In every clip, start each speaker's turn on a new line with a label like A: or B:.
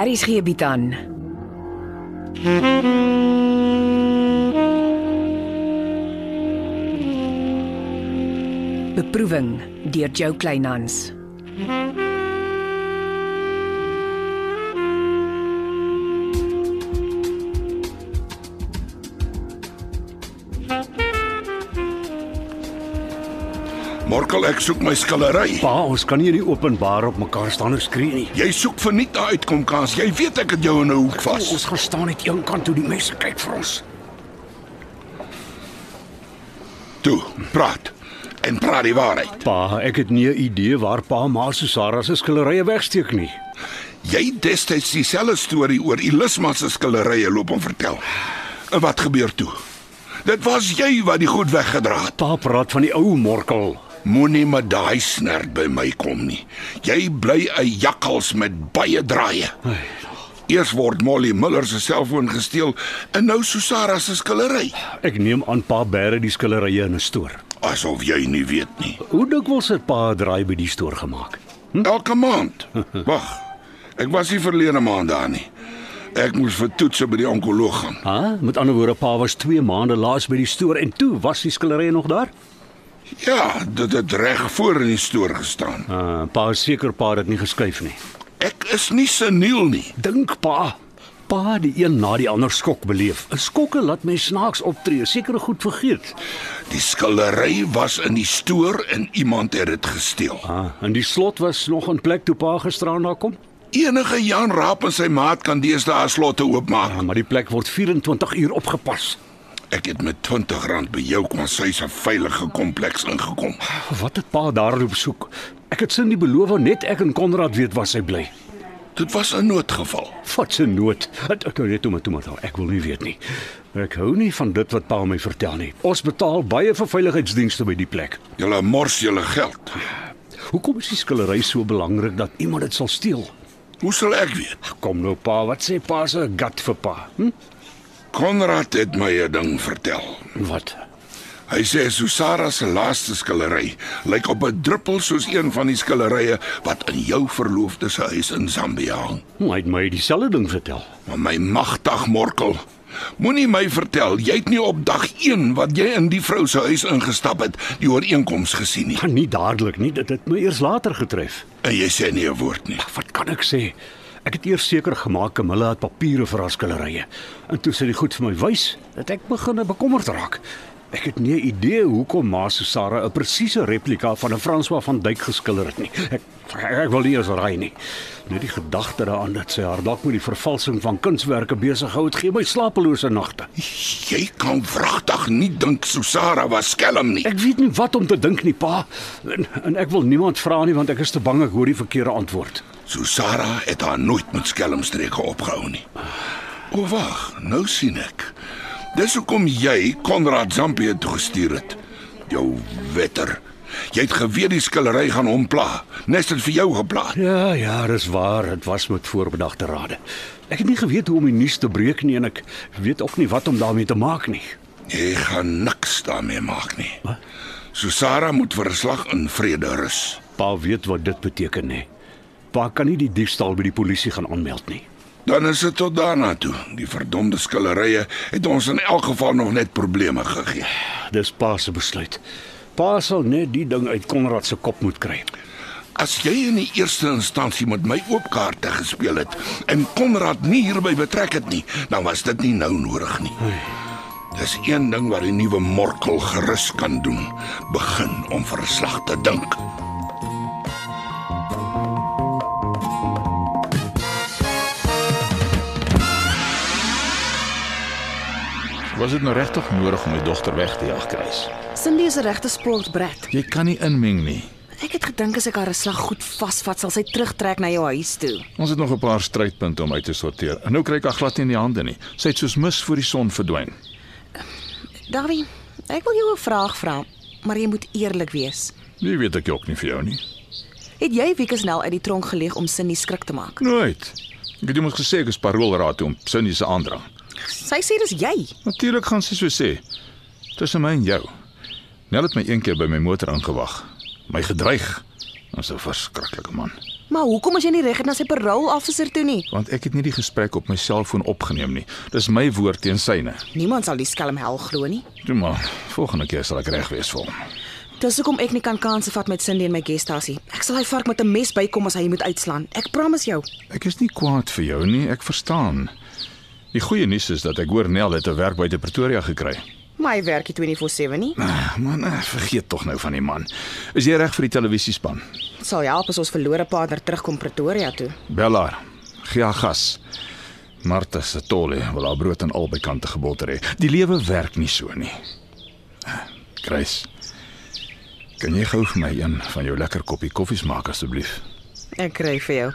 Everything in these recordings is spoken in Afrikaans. A: Aries gee bied aan. Beproeving deur Jo Kleinhans.
B: Morkel, ek soek my skillery.
C: Pa, ons kan nie in die openbaar op mekaar staan en skree nie.
B: Jy soek vir nie daai uitkomkans. Jy weet ek het jou in 'n hoek
C: O,
B: vas.
C: ons gaan staan net een kant toe die mense kyk vir ons.
B: Toe, praat. En praat die waarheid.
C: Pa, ek het nie 'n idee waar pa maar Susara se skillerye wegsteek nie.
B: Jy destyds dieselfde storie oor Elisma se skillerye loop en vertel. En wat gebeur toe? Dit was jy wat die goed weggedra het.
C: Pa praat van die ou Morkel.
B: Moenie met daai snert by my kom nie. Jy bly 'n jakkals met baie draaie. Eers word Molly Miller se selfoon gesteel en nou Susara se skillery.
C: Ek neem aan pa bære die skillerye in 'n stoor.
B: Asof jy nie weet nie.
C: Hoe dikwels het pa 'n draai by die stoor gemaak?
B: Elke maand. Wag. Ek was nie verlede maand daar nie. Ek moes vir toetse by die onkoloog gaan.
C: Ha, met ander woorde pa was 2 maande laas by die stoor en toe was die skillerye nog daar.
B: Ja, dit het reg voor in die stoor gestaan.
C: Uh, pa is seker pa het dit nie geskuif nie.
B: Ek is nie seniel nie.
C: Dink pa. Pa het die een na die ander skok beleef. 'n Skokke laat my snaaks optree, seker goed vergeet.
B: Die skillery was in die stoor en iemand het dit gesteel.
C: Ah, en die slot was nog in plek toe pa gisteraan daar kom.
B: Enige Jan Raap en sy maat kan deesdae slotte
C: Ja,
B: oopmaak.
C: maar die plek word 24 uur opgepas.
B: Ek het met R20 by jou kwansy se veilige kompleks ingekom.
C: Wat het pa daar loop soek? Ek het sin die beloof net ek en Konrad weet waar sy bly.
B: Dit was 'n noodgeval.
C: Wat 'n nood. Ek nou net toe maar toe maar ek wil nie weet nie. Ek hou nie van dit wat pa my vertel nie. Ons betaal baie vir veiligheidsdienste by die plek.
B: Julle mors julle geld.
C: Hoekom is die skillery so belangrik dat iemand dit sal steel?
B: Hoe sal ek weet?
C: Kom nou pa, wat sê pa se gat vir pa? Hm?
B: Konrad het my 'n ding vertel.
C: Wat?
B: Hy sê Susara se laaste skillery lyk op 'n druppel soos een van die skillerye wat in jou verloofde se huis in Zambië hang.
C: Hy het my dieselfde ding vertel.
B: Maar my magtig morkel. Moenie my vertel jy het nie op dag 1 wat jy in die vrou se huis ingestap het, die ooreenkoms gesien nie.
C: Maar nie dadelik nie, dit het my eers later getref.
B: En jy sê nie 'n woord nie.
C: Wat kan ek sê? Ek het eers seker gemaak Camilla het papiere vir haar skillerye. En toe sy dit goed vir my wys, het ek begin bekommerd raak. Ek het nie 'n idee hoekom Ma Susara 'n presiese replika van 'n François van Dyk geskilder het nie. Ek ek wil nie eens raai nie. Net die gedagte daaraan dat sy haar dalk met die vervalsing van kunswerke besig hou, het gee my slapelose nagte.
B: Jy kan wragtig nie dink Susara was skelm nie.
C: Ek weet nie wat om te dink nie, pa. En, en ek wil niemand vra nie want ek is te bang ek hoor die verkeerde antwoord.
B: Susara het haar nooit met skelmstreke opgehou nie. O wag, nou sien ek. Dis hoekom jy Konrad Zampie toe gestuur het. Jou wetter. Jy het geweet die skillery gaan hom pla. Nes dit vir jou gepla.
C: Ja, ja, dis waar. Dit was met voorbedagte rade. Ek het nie geweet hoe om die nuus te breek nie en ek weet ook nie wat om daarmee te maak nie.
B: Jy gaan niks daarmee maak nie.
C: Wat?
B: Susara moet vir 'n slag in vrede rus.
C: Pa weet wat dit beteken nê. Pa kan nie die diefstal by die polisie gaan aanmeld nie.
B: Dan is dit tot daarna toe. Die verdomde skillerye het ons in elk geval nog net probleme gegee.
C: Dis pa se besluit. Pa sal net die ding uit Konrad se kop moet kry.
B: As jy in die eerste instansie met my oopkaarte gespeel het en Konrad nie hierby betrek het nie, dan was dit nie nou nodig nie. Dis een ding wat die nuwe morkel gerus kan doen, begin om verslag te dink.
D: Was dit nou regtig nodig om my dogter weg te jaag, Chris?
E: Cindy is 'n regte sportbred.
D: Jy kan nie inmeng nie.
E: Ek het gedink as ek haar 'n slag goed vasvat, sal sy terugtrek na jou huis toe.
D: Ons het nog 'n paar strydpunte om uit te sorteer. En nou kry ek haar glad nie in die hande nie. Sy het soos mis voor die son verdwyn.
E: Davie, ek wil jou 'n vraag vra, maar jy moet eerlik wees.
D: Nie weet ek jok nie vir jou nie.
E: Het jy Wiekersnel uit die tronk geleeg om Cindy skrik te maak?
D: Nooit. Ek het jou mos gesê ek is paroolraad toe om Sunny se aandrang.
E: Sy sê dis jy.
D: Natuurlik gaan sy so sê. Tussen my en jou. Nel het my een keer by my motor aangewag. My gedreig. Ons 'n verskriklike man.
E: Maar hoekom is jy nie reg na sy parole officer toe nie?
D: want ek het nie die gesprek op my selfoon opgeneem nie. Dis my woord teen syne.
E: Niemand sal die skelm hel glo nie.
D: Toe maar, volgende keer sal ek reg wees vir hom.
E: Dis hoekom ek nie kan kanse vat met Cindy en my guesthuisie. Ek sal hy vark met 'n mes bykom as hy moet uitslaan. Ek promise jou.
D: Ek is nie kwaad vir jou nie, ek verstaan. Die goeie nuus is dat ek hoor Nel het 'n werk buite Pretoria gekry.
E: My werk hier 24/7 nie.
D: Ah, Man, eh, vergeet tog nou van die man. Is jy reg vir die televisiespan?
E: Dit sal help as ons verlore partner terugkom Pretoria toe.
D: Bellaar, gee haar gas. Martha se tolle wil haar brood aan albei kante geboter hê. Die lewe werk nie so nie. Ah, Grace. Kan jy gou vir my een van jou lekker koppie koffies maak asseblief?
E: Ek kry vir jou.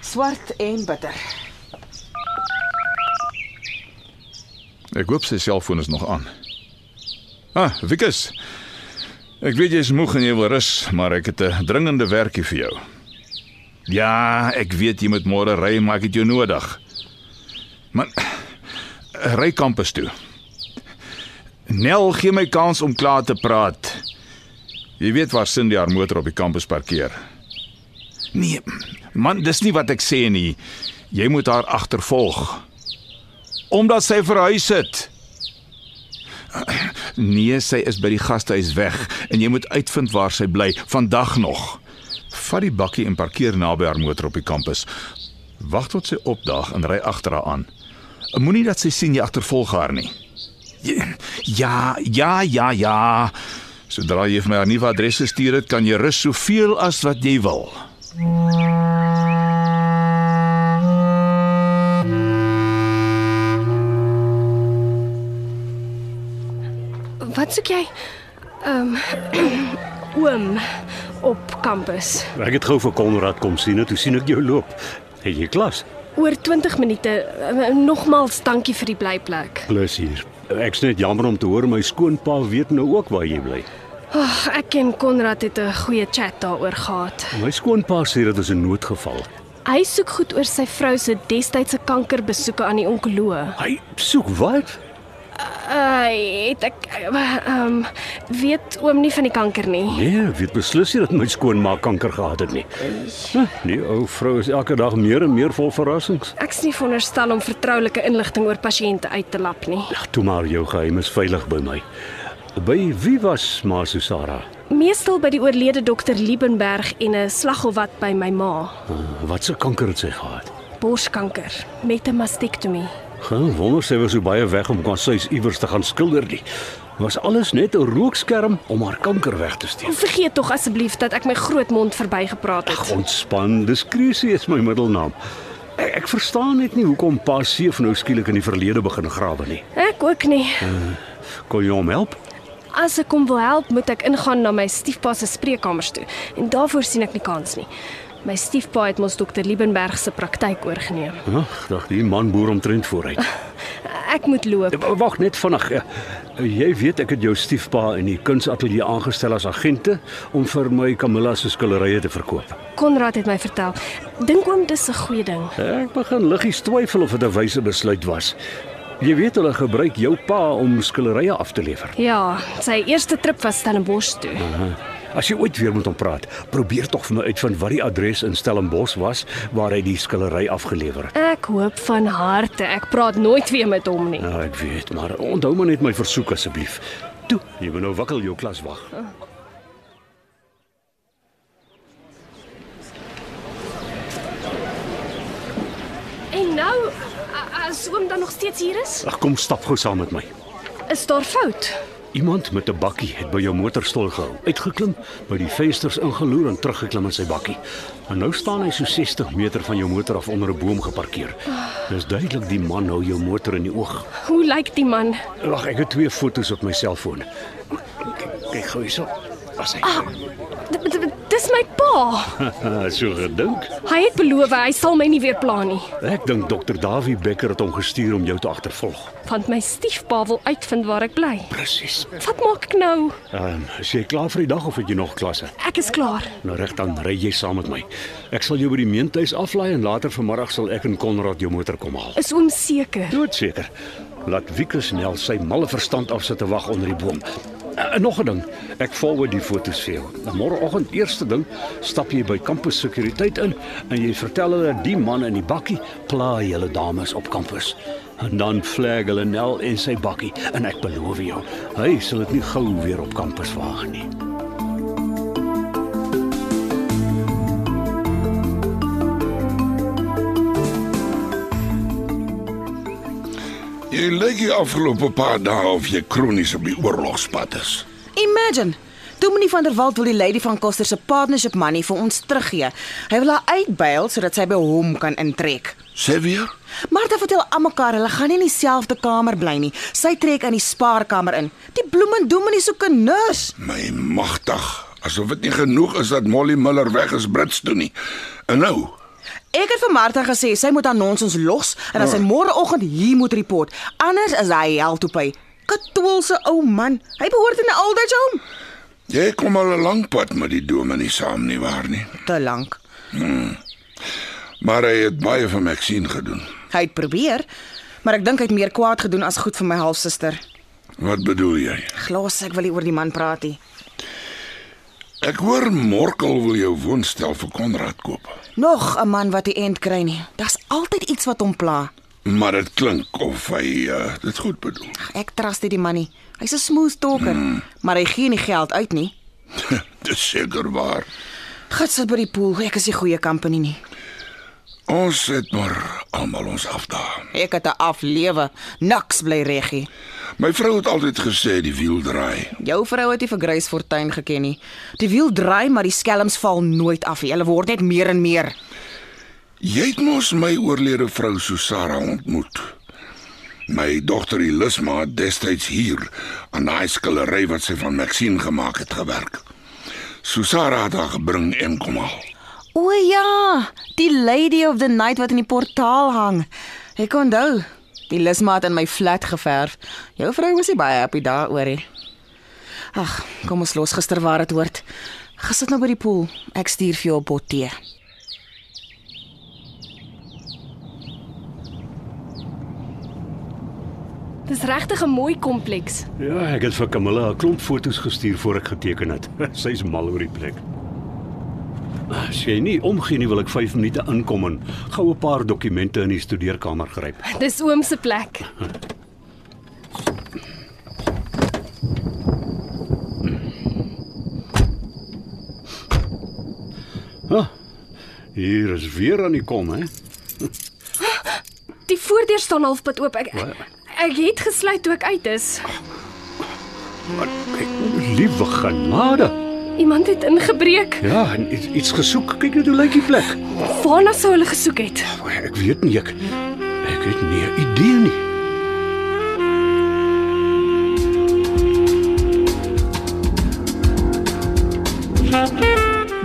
E: Swart en bitter.
D: Ek hoop sy selfoon is nog aan. Ah, Wikus. Ek weet jy's moeg en jy wil rus, maar ek het 'n dringende werkie vir jou. Ja, ek weet jy moet môre ry, maar ek het jou nodig. Man, ry kampus toe. Nel gee my kans om klaar te praat. Jy weet waar Cindy haar motor op die kampus parkeer. Nee, man, dis nie wat ek sê nie. Jy moet haar agtervolg omdat sy verhuis het. Nee, sy is by die gastehuis weg en jy moet uitvind waar sy bly vandag nog. Vat die bakkie en parkeer naby haar motor op die kampus. Wag tot sy opdaag en ry agter haar aan. Moenie dat sy sien jy agtervolg haar nie. Ja, ja, ja, ja. Sodra jy vir my haar nuwe adres gestuur het, kan jy rus soveel as wat jy wil.
F: Wat soek jy? Ehm um, oom op kampus.
C: Ek het gou vir Konrad kom sien, en toe sien ek jou loop. Het jy klas?
F: Oor 20 minute. eh, Nogmaals dankie vir die blyplek.
C: Plus hier. Ek's net jammer om te hoor my skoonpa weet nou ook waar jy bly.
F: Ag, ek en Konrad het 'n goeie chat daaroor gehad.
C: My skoonpa sê dit is 'n noodgeval.
F: Hy soek goed oor sy vrou se destydse kankerbesoeke aan die onkoloog.
C: Hy soek wat?
F: Uh, het ek ehm um, weet oom nie van die kanker nie.
C: Nee, ek weet beslis nie dat my skoonma kanker gehad het nie. Huh, Die ou vrou is elke dag meer en meer vol verrassings.
F: Ek's nie veronderstel om vertroulike inligting oor pasiënte uit te lap nie.
C: Ag, toe maar jou geheim is veilig by my. By wie was Ma Susara?
F: Meestal by die oorlede dokter Liebenberg en 'n slag of wat by my ma.
C: Uh, Wat se kanker het sy gehad?
F: borskanker met 'n mastektomie.
C: Geen wonder sy was so baie weg om kon sy iewers te gaan skilder nie. Was alles net 'n rookskerm om haar kanker weg te steek.
F: Vergeet tog asseblief dat ek my groot mond verbygepraat het.
C: Ontspan, diskresie is my middelnaam. Ek, ek verstaan net nie hoekom Pa Seef nou skielik in die verlede begin grawe nie.
F: Ek ook nie.
C: Kon jy hom help?
F: As ek hom wil help, moet ek ingaan na my stiefpa se spreekkamers toe en daarvoor sien ek nie kans nie. My stiefpa het mos dokter Liebenberg se praktyk oorgeneem.
C: Ag, dag die man boer omtrent vooruit.
F: Ek moet loop.
C: W- Wag net vinnig. ja. Jy weet ek het jou stiefpa in die kunsateljee aangestel as agente om vir my Camilla se skilderye te verkoop.
F: Konrad het my vertel. Dink oom dis 'n goeie ding.
C: Ek begin liggies twyfel of dit 'n wyse besluit was. Jy weet hulle gebruik jou pa om skilderye af te lewer.
F: Ja, sy eerste trip was Stellenbosch toe.
C: As jy ooit weer met hom praat, probeer tog vir my uitvind wat die adres in Stellenbosch was waar hy die skildery afgelewer het.
F: Ek hoop van harte ek praat nooit weer met hom nie.
C: Nou, ek weet, maar onthou maar net my versoek asseblief. Toe, jy moet nou wakkel jou klas wag.
F: En nou a- as oom dan nog steeds hier is?
C: Ag kom stap gou saam met my.
F: Is daar fout?
C: Iemand met 'n bakkie het by jou motorstol gehou, uitgeklim, by die vensters ingeloer en teruggeklim in sy bakkie. En nou staan hy so 60 meter van jou motor af onder 'n boom geparkeer. Dis duidelik die man hou jou motor in die oog.
F: Hoe lyk die man?
C: Wag, ek het twee foto's op my selfoon. Kyk- Kyk gou hierso. Was hy?
F: D- d- d- Dis my pa.
C: Ah, so gedink.
F: Hy het beloof hy sal my nie weer pla nie,
C: Ek dink dokter Davie Becker het hom gestuur om jou te agtervolg.
F: want my stiefpa wil uitvind waar ek bly.
C: Presies.
F: Wat maak ek nou?
C: Ehm, um, is jy klaar vir die dag of het jy nog klasse?
F: Ek is klaar.
C: Nou reg dan, ry jy saam met my. Ek sal jou by die meentuis aflaai en later vanmiddag sal ek en Konrad jou motor kom haal.
F: Is oom seker?
C: Doodseker. Laat Wikus Nel sy malle verstand afsit te wag onder die boom. En nog 'n ding. Ek forward die foto's vir jou. Nou, Môreoggend eerste ding, stap jy by kampus sekuriteit in en jy vertel hulle die man in die bakkie plaai julle dames op kampus. En dan flag hulle Nel in sy bakkie en ek beloof jou, hy sal dit nie gou weer op kampus waag nie.
B: Jy lyk die afgelope paar dae of jy kronies op die oorlogspad is.
E: Imagine. Dominee van der Walt wil die lady van Koster se partnership money vir ons teruggee. Hy wil haar uitbuil sodat sy by hom kan intrek.
B: Sê weer?
E: Martha vertel almekaar hulle gaan nie in dieselfde kamer bly nie. Sy trek aan die spaarkamer in. Die bloemen Dominee soek 'n nurse.
B: My magtig, asof dit nie genoeg is dat Molly Miller weg is Brits toe nie. En nou,
E: Ek het vir Martha gesê sy moet aan ons ons los en as sy môreoggend hier moet report. Anders is hy hel toe by. Katoolse ou man. Hy behoort in 'n old age home.
B: jy kom al 'n lank pad met die dominee saam nie waar nie.
E: Te lank.
B: Maar hy het baie vir Maxine gedoen.
E: Hy het probeer, maar ek dink hy het meer kwaad gedoen as goed vir my halfsuster.
B: Wat bedoel jy?
E: Glos, ek wil nie oor die man praat nie.
B: Ek hoor Morkel wil jou woonstel vir Konrad koop.
E: Nog 'n man wat die end kry nie. Daar's altyd iets wat hom pla.
B: Maar dit klink of hy uh, dit goed bedoel.
E: Ek trust nie die man nie. Hy's 'n smooth talker, maar hy gee nie geld uit nie.
B: Dis seker waar.
E: Gits sit by die pool. Ek is die goeie company nie.
B: Ons het maar almal ons afdae.
E: Ek het 'n aflewe. Niks bly reggie.
B: My vrou het altyd gesê die wiel draai.
E: Jou vrou het nie vir Grace Fortuin geken nie. Die wiel draai, maar die skelms val nooit af nie. Hulle word net meer en meer.
B: Jy het mos my oorlede vrou Susara ontmoet. My dogter Ilisma het destyds hier aan daai skillery wat sy van Maxine gemaak het gewerk. Susara het haar gebring en kom haal.
E: O ja, die lady of the night wat in die portaal hang. Ek onthou. Die lismaat in my flat geverf. Jou vrou was nie baie happy daaroor nie. Ag, kom ons los gister waar dit hoort. Gesit nou by die pool. Ek stuur vir jou 'n bot tee.
F: Dis regtig 'n mooi kompleks.
C: Ja, ek het vir Camilla 'n klomp foto's gestuur voor ek geteken het. Sy's mal oor die plek. Ah, As jy nie omgee nie, wil ek 5 minute inkom en gou 'n paar dokumente in die studeerkamer gryp.
F: Dis oom se plek.
C: Hier is weer aan die kom, hè?
F: Die voordeur staan halfpad oop. Ek ek het gesluit toe ek uit is.
C: Maar kyk, liewe genade.
F: Iemand het ingebreek.
C: Ja, en iets, iets gesoek. Kyk net hoe lyk die plek. Oh,
F: Waarna sou hulle gesoek het?
C: Ek weet nie ek. Ek het nie 'n idee nie.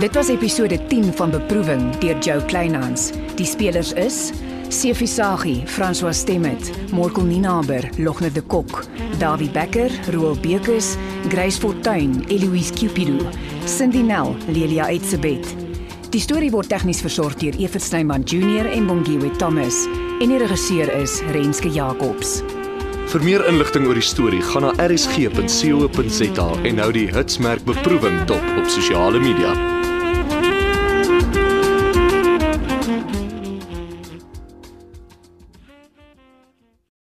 A: Dit was episode 10 van Beproewing deur Jo Kleinhans. Die spelers is Sefi Sagie, François Stemmet, Morkel Ninaber, Logner de Kok, Dawie Becker, Roel Bekes, Grace Fortuin, Eloise Cupido, Cindy Nel, Lelia Etsebet. Die storie word tegnies versorg deur Evert Snyman Junior en Bongwe Thomas en die regisseur is Renske Jacobs.
G: Vir meer inligting oor die storie, gaan na rsg.co.za en hou die hitsmerk beproewing dop op sosiale media.